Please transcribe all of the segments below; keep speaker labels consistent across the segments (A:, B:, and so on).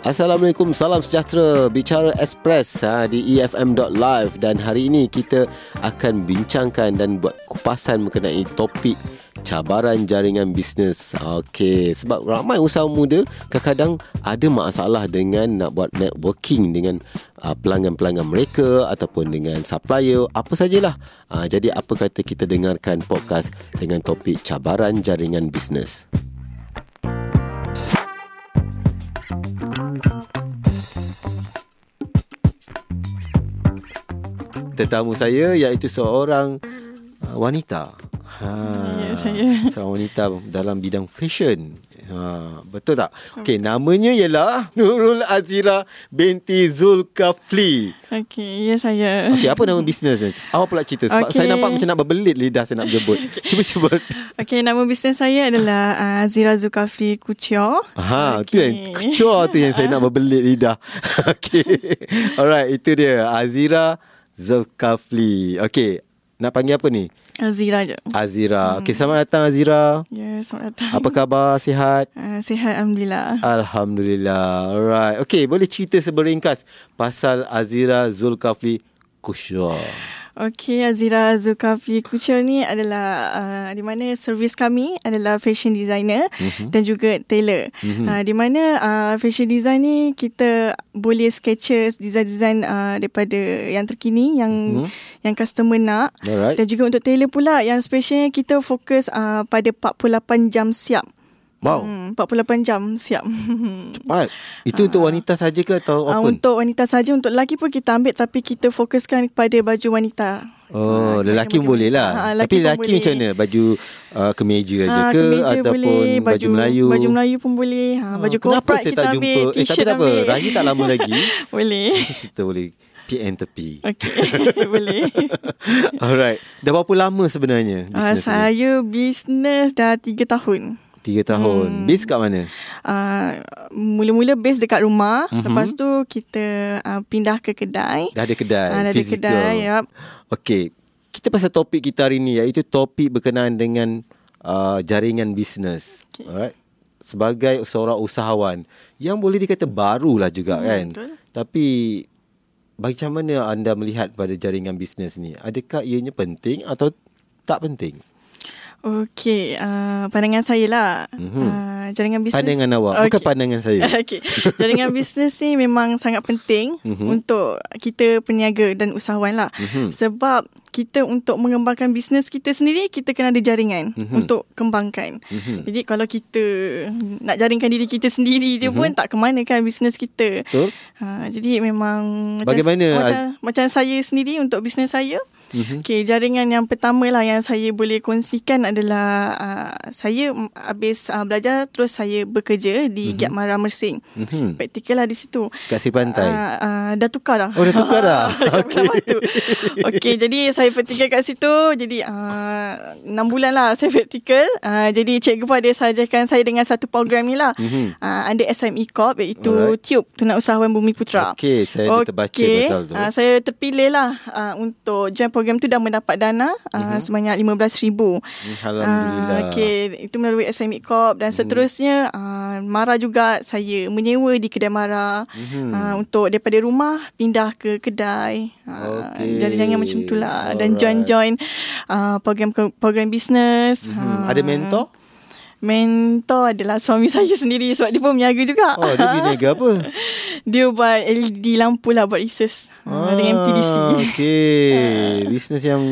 A: Assalamualaikum, salam sejahtera. Bicara Express ha, di EFM.live dan hari ini kita akan bincangkan dan buat kupasan mengenai topik cabaran jaringan bisnes. Okey, sebab ramai usaha muda kadang-kadang ada masalah dengan nak buat networking dengan uh, pelanggan-pelanggan mereka ataupun dengan supplier, apa sajalah. Uh, jadi apa kata kita dengarkan podcast dengan topik cabaran jaringan bisnes. tetamu saya iaitu seorang uh, wanita. Ha,
B: Ya, saya.
A: Seorang wanita dalam bidang fashion. Ha, betul tak? Okey, namanya ialah Nurul Azira binti Zulkafli.
B: Okey, ya saya.
A: Okey, apa nama bisnes ni? Awak pula cerita sebab okay.
B: Okey.
A: saya nampak macam nak berbelit lidah saya nak jemput. Cuba sebut.
B: Okey, nama bisnes saya adalah uh, Zira Zulkafli Kucio.
A: Ha, okay. tu yang kecoh tu yang saya nak berbelit lidah. Okey. Alright, itu dia Azira Zulkafli. Okey, nak panggil apa ni?
B: Uh, Zira je. Hmm.
A: Azira. Okey, selamat datang Azira.
B: Ya, selamat datang.
A: Apa khabar? Sihat?
B: Uh, sihat, Alhamdulillah.
A: Alhamdulillah. Alright. Okey, boleh cerita seberingkas pasal Azira Zulkafli Kushwa.
B: Okey, Azira Zulkafli Kucio ni adalah uh, di mana servis kami adalah fashion designer
A: Mhm.
B: mm-hmm. dan juga tailor. Mm-hmm. Uh, di mana uh, fashion design ni kita boleh sketches design-design uh, daripada yang terkini yang mm-hmm. yang customer nak.
A: Mhm. Alright.
B: Dan juga untuk tailor pula yang specialnya kita fokus uh, pada 48 jam siap.
A: Wow,
B: Hmm, 48 jam siap.
A: cepat. Itu untuk wanita saja ke atau open?
B: Uh, Ah. untuk wanita saja, untuk lelaki pun kita ambil tapi kita fokuskan kepada baju wanita.
A: Oh,
B: Ah,
A: lelaki pun
B: kepada
A: boleh
B: Ah,
A: lah. Tapi
B: pun
A: lelaki
B: boleh.
A: macam mana? Baju uh, kemeja aja
B: Ah,
A: ke
B: kemeja
A: ataupun
B: boleh,
A: baju Melayu?
B: Baju Melayu pun boleh. Ha, baju
A: Ah, Kenapa
B: korporat
A: saya
B: kita
A: tak
B: ambil,
A: jumpa? Eh, tapi tak
B: t-shirt
A: apa.
B: ambil.
A: Raya tak lama lagi.
B: boleh.
A: Kita boleh PN tepi.
B: Okey, boleh.
A: Alright. Dah berapa lama sebenarnya
B: Uh,
A: bisnes ni?
B: saya bisnes dah 3 tahun.
A: Tiga
B: Hmm.
A: tahun. Bis kat mana?
B: Uh, mula-mula base dekat rumah. Mm-hmm.
A: Mhm.
B: Lepas tu kita uh, pindah ke kedai.
A: Dah ada kedai
B: Ah, dah ada
A: physical.
B: kedai, yup.
A: Okey. Kita pasal topik kita hari ni iaitu topik berkenaan dengan uh, jaringan bisnes. Okay.
B: Okey.
A: Alright. Sebagai seorang usahawan yang boleh dikata barulah juga hmm, kan.
B: betul.
A: Tapi macam mana anda melihat pada jaringan bisnes ni? Adakah ianya penting atau tak penting?
B: Okey, uh, pandangan saya lah. Mm-hmm. Uh, jaringan bisnes.
A: Pandangan Mhm. awak, okay. bukan pandangan saya.
B: Okey. Jaringan bisnes ni memang sangat penting
A: Mhm.
B: mm-hmm. untuk kita peniaga dan usahawan lah. Mm-hmm. Sebab kita untuk mengembangkan bisnes kita sendiri, kita kena ada jaringan
A: Mhm.
B: mm-hmm. untuk kembangkan. Mm-hmm. Jadi kalau kita nak jaringkan diri kita sendiri je mm-hmm. pun tak ke mana kan bisnes kita.
A: Mhm. Betul?
B: Ha, jadi memang
A: Bagaimana,
B: macam, macam, macam saya sendiri untuk bisnes saya.
A: Mhm.
B: Mm-hmm. Okay, jaringan yang pertama lah yang saya boleh kongsikan adalah uh, saya mm, habis uh, belajar terus saya bekerja di mm-hmm. Giat Mara Mersing.
A: Mhm.
B: Praktikal lah di situ.
A: Kat Sri Pantai. Uh,
B: Uh, uh, dah tukar dah.
A: Oh, dah tukar dah?
B: okay. okay, jadi saya praktikal kat situ. Jadi uh, 6 bulan lah saya praktikal. Uh, jadi cikgu pun ada sajakan saya dengan satu program ni lah.
A: Mhm.
B: Mm-hmm. Uh, under SME Corp iaitu
A: Alright.
B: Alright. TUBE, Tunak Usahawan Bumi Putra.
A: Okey, saya ada Eh, terbaca pasal tu.
B: Uh, saya terpilih lah uh, untuk join program tu dan mendapat dana uh, mm-hmm. sebanyak RM15,000.
A: Mhm. Alhamdulillah. Mhm.
B: Ah, Okey, itu melalui SME Corp dan seterusnya uh, Mara juga saya menyewa di kedai Mara
A: Mhm.
B: mm-hmm. uh, untuk daripada rumah pindah ke kedai. Uh,
A: Okey.
B: Jalan-jalan macam itulah dan
A: Alright.
B: join-join uh, program program bisnes.
A: Hmm.
B: Mm-hmm.
A: Ada mentor?
B: Mentor adalah suami saya sendiri sebab dia pun meniaga juga.
A: Oh, dia biniaga apa?
B: Dia buat LED lampu lah buat research ah, dengan MTDC.
A: Okey. Bisnes yang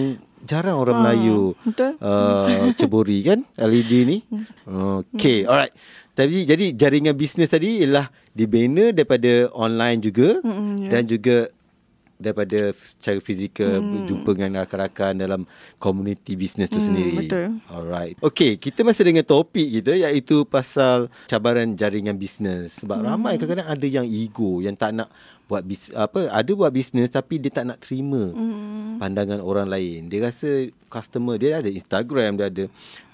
A: jarang orang Melayu
B: Ah, betul.
A: uh, ceburi kan LED ni. Okey, alright. Tapi jadi jaringan bisnes tadi ialah dibina daripada online juga
B: Mm-mm, ya.
A: dan juga daripada secara fizikal mm. jumpa dengan rakan-rakan dalam community bisnes tu
B: Mm,
A: sendiri.
B: betul.
A: Alright. Okey, kita masih dengan topik kita iaitu pasal cabaran jaringan bisnes. Sebab hmm. ramai kadang-kadang ada yang ego yang tak nak buat bis, apa ada buat bisnes tapi dia tak nak terima hmm. pandangan orang lain. Dia rasa customer dia ada Instagram, dia ada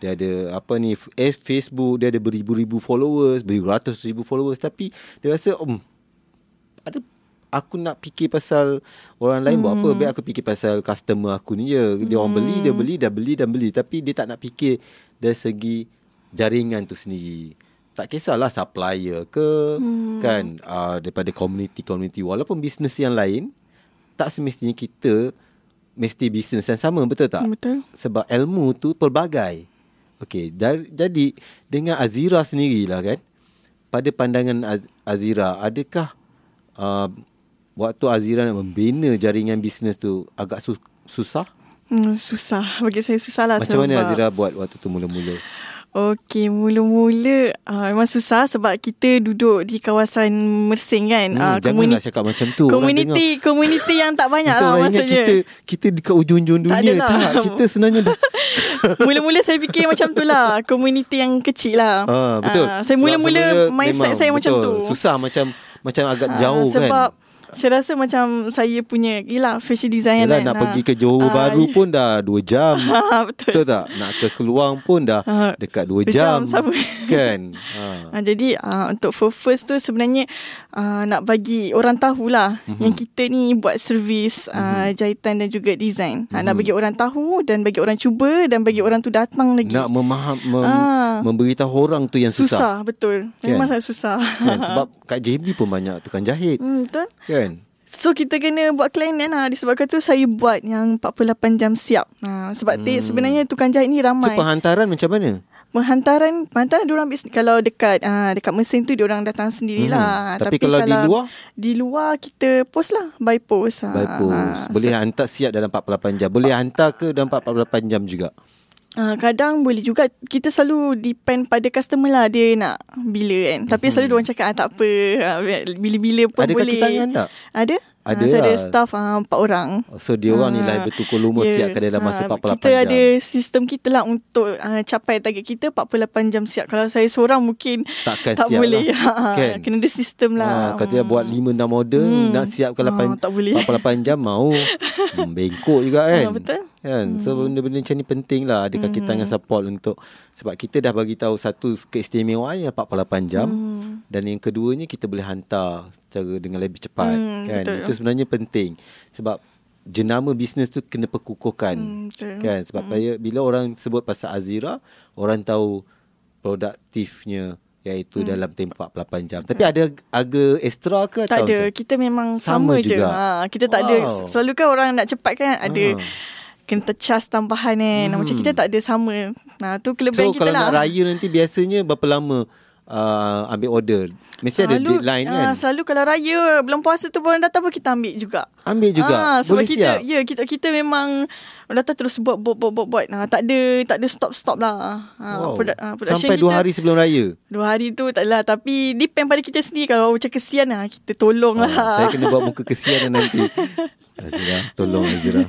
A: dia ada apa ni F- eh, Facebook, dia ada beribu-ribu followers, beratus ribu followers tapi dia rasa um ada aku nak fikir pasal orang lain buat apa biar aku fikir pasal customer aku ni je dia orang beli dia beli dah beli dan beli tapi dia tak nak fikir dari segi jaringan tu sendiri tak kisahlah supplier ke hmm. kan uh, daripada community-community walaupun bisnes yang lain tak semestinya kita mesti bisnes yang sama betul tak?
B: Betul.
A: Sebab ilmu tu pelbagai. Okey, jadi dengan Azira sendirilah kan. Pada pandangan Az- Azira, adakah uh, waktu Azira nak membina jaringan bisnes tu agak su- susah?
B: Hmm, susah. Bagi saya susah lah.
A: Macam mana
B: sebab-
A: Azira buat waktu tu mula-mula?
B: Okey, mula-mula uh, memang susah sebab kita duduk di kawasan Mersing kan.
A: Hmm,
B: Ah,
A: janganlah cakap macam tu. Orang
B: Community, community yang tak banyak
A: Betul
B: lah
A: orang ingat
B: maksudnya.
A: kita kita dekat ujung-ujung
B: Tak
A: dunia tak,
B: adalah.
A: kita sebenarnya dah
B: Mula-mula saya fikir macam tu lah. Community yang kecil lah.
A: ah betul.
B: Ah, saya
A: Sebab
B: mula-mula
A: semula
B: mindset
A: memang,
B: saya macam
A: betul.
B: tu.
A: Susah macam macam agak
B: Ah,
A: jauh
B: sebab
A: kan.
B: saya rasa macam saya punya, yelah fashion design
A: Yalah
B: kan.
A: nak
B: Ah.
A: pergi ke Johor
B: Ah,
A: Baru
B: ya.
A: pun dah 2 jam.
B: Ah, betul.
A: Betul tak? Nak ke Keluang pun dah
B: Ah,
A: dekat 2
B: dua
A: jam.
B: jam sama.
A: Kan? Ha.
B: Ha, jadi uh, untuk for first tu sebenarnya uh, nak bagi orang
A: Mhm.
B: tahulah mm-hmm. yang kita ni buat servis uh, jahitan dan juga design. Mm-hmm. Ha,
A: Mhm.
B: nak bagi orang tahu dan bagi orang cuba dan bagi orang tu datang lagi.
A: Nak memaham mem,
B: Ah.
A: memberitahu orang tu yang susah. susah.
B: susah. Ha. betul.
A: Kan?
B: Memang sangat susah.
A: Kan? Sebab kat JB pun banyak tukang jahit.
B: hmm, betul.
A: Kan?
B: So kita kena buat kelainan lah Disebabkan tu saya buat yang 48 jam siap ha, Sebab hmm. sebenarnya tukang jahit ni
A: Tu
B: ramai
A: penghantaran macam mana?
B: Ha. Penghantaran Penghantaran diorang bis- Kalau dekat ah, dekat mesin tu Diorang datang
A: Mhm.
B: sendirilah
A: Tapi kalau di luar?
B: Di luar kita post lah By post ah.
A: By post. Boleh hantar siap dalam 48 jam. Boleh hantar ke dalam 48 jam juga.
B: Ah, Kadang boleh juga Kita selalu depend pada customer lah Dia nak bila kan
A: Mhm.
B: Tapi selalu diorang cakap ah, Tak apa Ah, Bila-bila pun
A: Ada kaki
B: boleh
A: tangan tak?
B: Ada
A: Ada
B: Ah, Saya ada
A: lah.
B: staff ah, empat orang
A: So dia orang ni
B: Ah,
A: lah bertukar lumur
B: ya.
A: yeah. siap ke dalam masa 48
B: Ah, kita
A: jam.
B: Kita ada sistem kita lah untuk uh, capai target kita 48 jam siap. Kalau saya seorang mungkin
A: Takkan
B: tak
A: siap
B: boleh.
A: lah.
B: Kan? Kena ada sistem
A: Ah,
B: lah.
A: kau tidak buat 5 6 order hmm. nak siapkan
B: Ah,
A: 8
B: tak boleh.
A: 48 jam mau hmm, bengkok juga kan.
B: Ah, betul. Hmm.
A: Kan. So benda-benda macam ni penting lah ada kaki tangan support untuk sebab kita dah bagi tahu satu keistimewaan yang 48 jam hmm. dan yang keduanya kita boleh hantar secara dengan lebih cepat
B: Hmm,
A: kan.
B: betul.
A: Itu sebenarnya penting sebab jenama bisnes tu kena perkukuhkan.
B: Hmm, betul.
A: kan sebab saya bila orang sebut pasal Azira orang tahu produktifnya iaitu
B: Mm.
A: hmm. dalam tempoh 48 jam. Tapi ada harga extra ke atau
B: Tak ada.
A: macam?
B: Kita memang
A: Sama
B: sama, je.
A: juga.
B: Ha, kita tak ada.
A: Wow. Ha.
B: Selalu kan orang nak cepat kan ada kena charge tambahan kan. Hmm. Macam kita tak ada sama. Nah, tu
A: So
B: kelebihan kita
A: kalau
B: lah.
A: nak raya nanti biasanya berapa lama uh, ambil order? Mesti ada deadline
B: ah,
A: kan?
B: Selalu kalau raya Belum puasa tu pun orang datang pun kita ambil juga
A: Ambil juga?
B: ah, Sebab
A: Boleh
B: kita
A: siap?
B: Ya kita kita memang Orang datang terus buat Buat buat buat, buat. Ah, Tak ada Tak ada stop stop lah ah,
A: Wow.
B: produ- ah, production
A: Sampai dua
B: kita-
A: hari sebelum raya.
B: Dua hari tu tak lah Tapi depend pada kita sendiri Kalau macam kesian lah Kita tolong
A: Ah,
B: lah
A: saya kena buat muka kesian lah nanti. Azira, tolong Azira.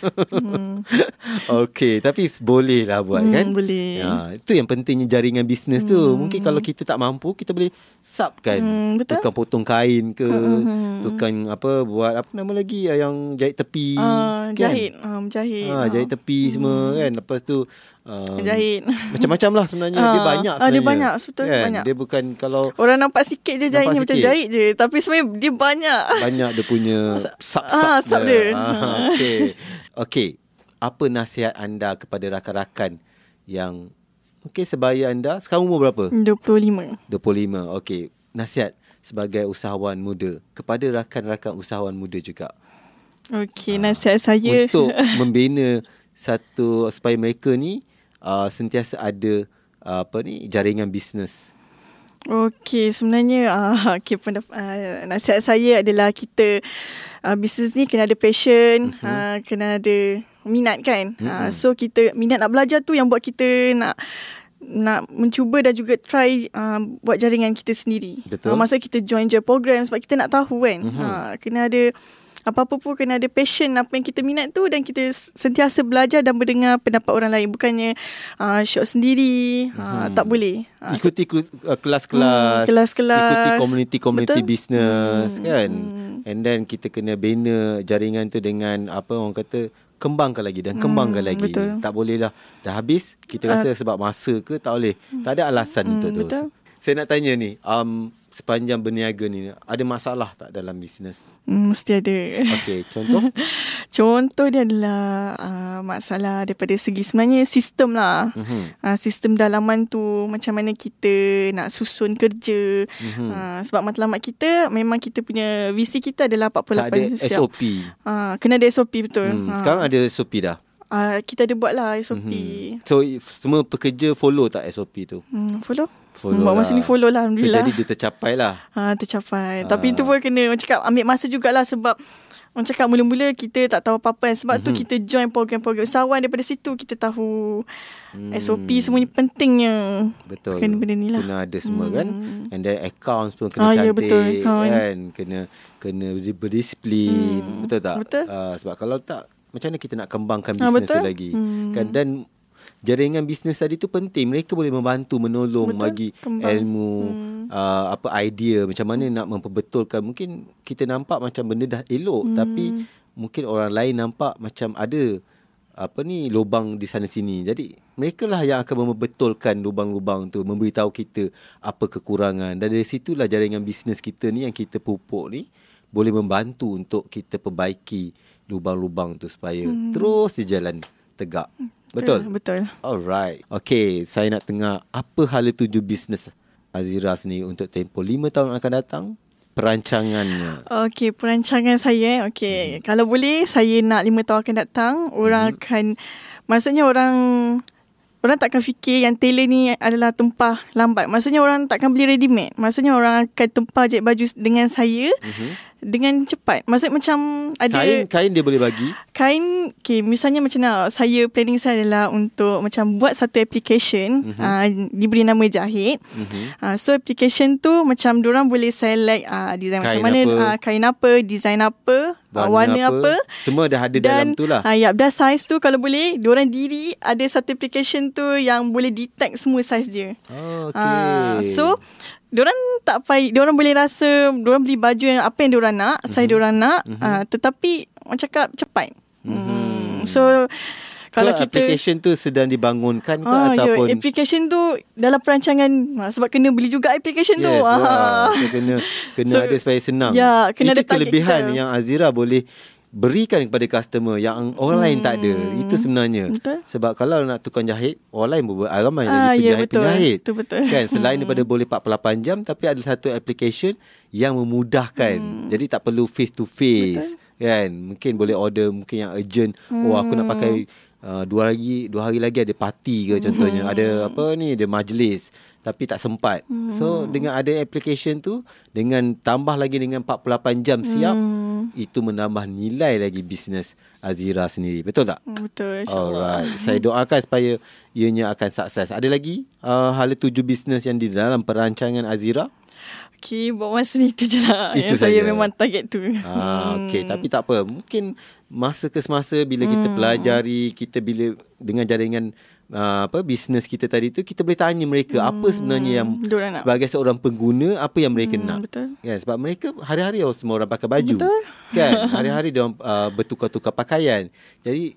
A: Okey, tapi boleh lah buat
B: Hmm,
A: kan?
B: boleh.
A: Ya, itu yang pentingnya jaringan bisnes tu. Mungkin kalau kita tak mampu, kita boleh subkan.
B: Hmm, betul. Hmm,
A: Tukang potong kain ke, tukang apa buat apa nama lagi ah, yang jahit tepi.
B: Ah,
A: kan?
B: Jahit Hmm. ah, Menjahit
A: Ah, jahit tepi semua kan. Lepas tu um,
B: Menjahit
A: macam-macam lah sebenarnya. Dia
B: Ah,
A: banyak
B: ah, dia
A: sebenarnya.
B: banyak, betul, dia
A: Kan?
B: banyak.
A: Dia bukan kalau
B: Orang nampak sikit je jahit
A: Nampak
B: ni Macam
A: sikit.
B: jahit je Tapi sebenarnya dia banyak
A: banyak dia punya sub-sub
B: ah, sub dia.
A: Ah, okay. okay. Apa nasihat anda kepada rakan-rakan yang mungkin sebaya anda sekarang umur berapa?
B: 25
A: 25. Okay. Nasihat sebagai usahawan muda kepada rakan-rakan usahawan muda juga.
B: Okey, nasihat saya
A: Untuk membina satu supaya mereka ni uh, sentiasa ada uh, apa ni jaringan bisnes.
B: Okey, sebenarnya uh, okay, pendap- uh, nasihat saya adalah kita uh, bisnes ni kena ada passion, mm-hmm. uh, kena ada minat kan. Mm-hmm. Uh, so kita minat nak belajar tu yang buat kita nak nak mencuba dan juga try uh, buat jaringan kita sendiri.
A: Betul.
B: Uh, maksudnya kita join je program sebab kita nak tahu kan. Mm-hmm. Uh, kena ada apa-apa pun kena ada passion apa yang kita minat tu dan kita s- sentiasa belajar dan mendengar pendapat orang lain bukannya uh, syok sendiri uh, tak boleh. Ah,
A: Ikuti kru- uh, kelas-kelas
B: Hmm, kelas-kelas.
A: Ikuti community-community
B: Betul. Hmm.
A: business Kan And then kita kena bina jaringan tu dengan Apa orang kata Kembangkan lagi dan kembangkan lagi
B: Hmm, betul. Ah.
A: Tak boleh lah Dah habis Kita rasa sebab masa ke tak boleh Tak ada alasan untuk tu
B: Hmm. betul.
A: Saya nak tanya ni, um, sepanjang berniaga ni, ada masalah tak dalam bisnes?
B: Hmm, mesti ada.
A: Okey, contoh?
B: Contoh dia adalah uh, masalah daripada segi sebenarnya sistem lah. Mm-hmm.
A: Mhm.
B: Uh, sistem dalaman tu macam mana kita nak susun kerja.
A: Mhm.
B: Mm-hmm. Uh, sebab matlamat kita memang kita punya visi kita adalah 48
A: tak ada
B: siap.
A: SOP.
B: Uh, kena ada SOP betul.
A: Hmm,
B: Ah.
A: Sekarang ada SOP dah.
B: Ah, kita ada buat lah SOP. Mm-hmm.
A: So, if semua pekerja follow tak SOP tu?
B: Hmm, follow?
A: Follow
B: Buat
A: lah.
B: masa ni follow
A: So,
B: lah Alhamdulillah.
A: jadi dia tercapai lah.
B: Ha, tercapai. Tapi itu pun kena orang cakap ambil masa jugalah sebab orang cakap mula-mula kita tak tahu apa-apa kan. Sebab mm-hmm. tu kita join program-program usahawan daripada situ kita tahu mm. SOP semuanya pentingnya.
A: Betul.
B: Kena benda ni lah.
A: Kena ada semua hmm. kan. And then accounts pun
B: Ah,
A: kena
B: ya,
A: cantik
B: betul. Sound.
A: kan. Kena kena di- berdisiplin. Hmm. Betul tak?
B: Betul.
A: Ah, sebab kalau tak macam mana kita nak kembangkan
B: Ah,
A: bisnes tu
B: betul.
A: lagi. Hmm. Kan dan jaringan bisnes tadi tu penting. Mereka boleh membantu menolong
B: Betul.
A: bagi
B: Kembang.
A: ilmu hmm. uh, apa idea macam mana nak memperbetulkan. Mungkin kita nampak macam benda dah elok hmm. tapi mungkin orang lain nampak macam ada apa ni lubang di sana sini. Jadi mereka lah yang akan membetulkan lubang-lubang tu, memberitahu kita apa kekurangan. Dan dari situlah jaringan bisnes kita ni yang kita pupuk ni boleh membantu untuk kita perbaiki lubang-lubang tu supaya hmm. terus je jalan tegak. Betul.
B: Betul.
A: Alright. Okay, saya nak tengok apa hala tuju bisnes Azira sendiri untuk tempoh 5 tahun akan datang, perancangannya.
B: Okey, perancangan saya eh. Okey, hmm. kalau boleh saya nak lima tahun akan datang, orang hmm. akan maksudnya orang orang takkan fikir yang tailor ni adalah tempah lambat. Maksudnya orang takkan beli ready made. Maksudnya orang akan tempah jahit baju dengan saya hmm. dengan cepat. Maksud macam ada
A: Kain kain dia boleh bagi.
B: Kain okay, Misalnya macam nak Saya planning saya adalah Untuk macam Buat satu application mm-hmm. uh, Diberi nama Jahit mm-hmm.
A: Mhm.
B: uh, So application tu Macam orang boleh select uh, Design
A: Kain
B: macam mana
A: apa.
B: uh, Kain apa Design apa Warna, uh, warna apa, apa
A: Semua dah ada dalam tu lah.
B: Ah, yap, dah saiz tu kalau boleh diorang diri ada satu application tu yang boleh detect semua saiz dia.
A: Oh, okay.
B: Ah, so diorang tak payah diorang boleh rasa diorang beli baju yang apa yang diorang nak, mm-hmm. saya
A: Mhm.
B: diorang nak, mm-hmm. ah, tetapi orang cakap cepat. Mm-hmm. So kalau
A: Mhm. so,
B: kita
A: application tu sedang dibangunkan ke
B: Ah,
A: ataupun
B: ya, application tu dalam perancangan ah, sebab kena beli juga application tu.
A: Yes, ah.
B: Ah.
A: so kena kena
B: So,
A: ada supaya senang.
B: ya, kena
A: Itu
B: ada target
A: kelebihan
B: kita.
A: yang Azira boleh berikan kepada customer yang orang hmm. lain tak ada. Itu sebenarnya.
B: Betul.
A: Sebab kalau nak tukang jahit, orang lain berbual ramai
B: Ah,
A: lagi
B: ya,
A: penjahit-penjahit.
B: betul. Itu betul.
A: Kan selain daripada boleh 48 jam tapi ada satu application yang memudahkan. Jadi tak perlu face to face. Kan? Mungkin boleh order mungkin yang urgent. Oh aku nak pakai Uh, dua hari dua hari lagi ada parti ke contohnya ada apa ni ada majlis tapi tak sempat so dengan ada application tu dengan tambah lagi dengan 48 jam siap itu menambah nilai lagi bisnes Azira sendiri betul tak
B: Hmm, Betul. insyaAllah.
A: Alright, saya doakan supaya ianya akan sukses. Ada lagi uh, hala tuju bisnes yang di dalam perancangan Azira?
B: Okay, buat masa ni tu je lah.
A: Itu
B: Itu yang saya
A: saja.
B: memang target tu.
A: Ah,
B: Hmm.
A: okay, tapi tak apa. Mungkin masa ke semasa bila kita
B: Hmm.
A: pelajari, kita bila dengan jaringan uh, apa bisnes kita tadi tu, kita boleh tanya mereka apa sebenarnya yang
B: Diorang Hmm. lah nak. Hmm,
A: sebagai seorang pengguna apa yang mereka nak.
B: betul.
A: Kan sebab mereka hari-hari oh, semua orang pakai baju. Betul. Kan hari-hari dia orang uh, bertukar-tukar pakaian. Jadi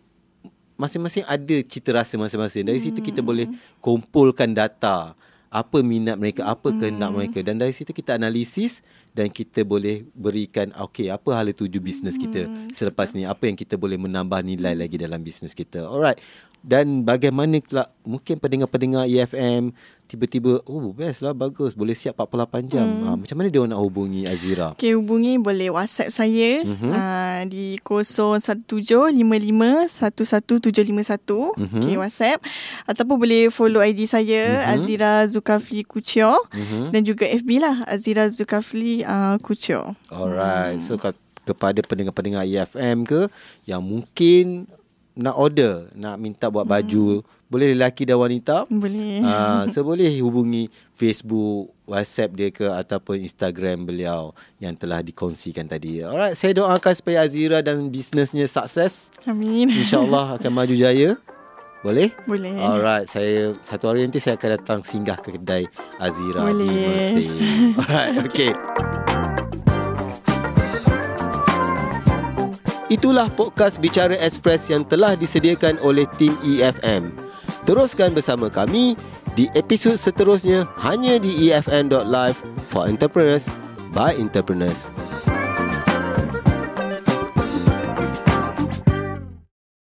A: masing-masing ada cita rasa masing-masing. Dari situ kita boleh kumpulkan data apa minat mereka, apa kehendak mereka dan dari situ kita analisis dan kita boleh berikan okey apa hala tuju bisnes kita selepas ni apa yang kita boleh menambah nilai lagi dalam bisnes kita. Alright. Dan bagaimana pula mungkin pendengar-pendengar E EFM tiba-tiba oh best lah bagus boleh siap 48 jam. Hmm. Ha, macam mana dia orang nak hubungi Azira?
B: Okay, hubungi boleh WhatsApp saya
A: Mhm.
B: mm-hmm. uh, di
A: Mhm.
B: 0175511751. Mm-hmm. Okay, WhatsApp. Ataupun boleh follow ID saya, mm-hmm. Azira Zulkafli Kucio.
A: Mhm.
B: Mm-hmm. Dan juga FB lah, Azira Zulkafli uh, Kucio.
A: Alright. So ke- kepada pendengar-pendengar EFM ke yang mungkin nak order, nak minta buat baju, boleh lelaki dan wanita?
B: Boleh. Uh,
A: Ah, so boleh hubungi Facebook, WhatsApp dia ke ataupun Instagram beliau yang telah dikongsikan tadi. Alright, saya doakan supaya Azira dan bisnesnya sukses.
B: Amin.
A: InsyaAllah akan maju jaya. Boleh?
B: Boleh.
A: Alright, saya satu hari nanti saya akan datang singgah ke kedai Azira di
B: Boleh.
A: Mersey. Alright, okay. Itulah podcast Bicara E Express yang telah disediakan oleh tim EFM. Teruskan bersama kami di E episod seterusnya hanya di efn.live for entrepreneurs by entrepreneurs.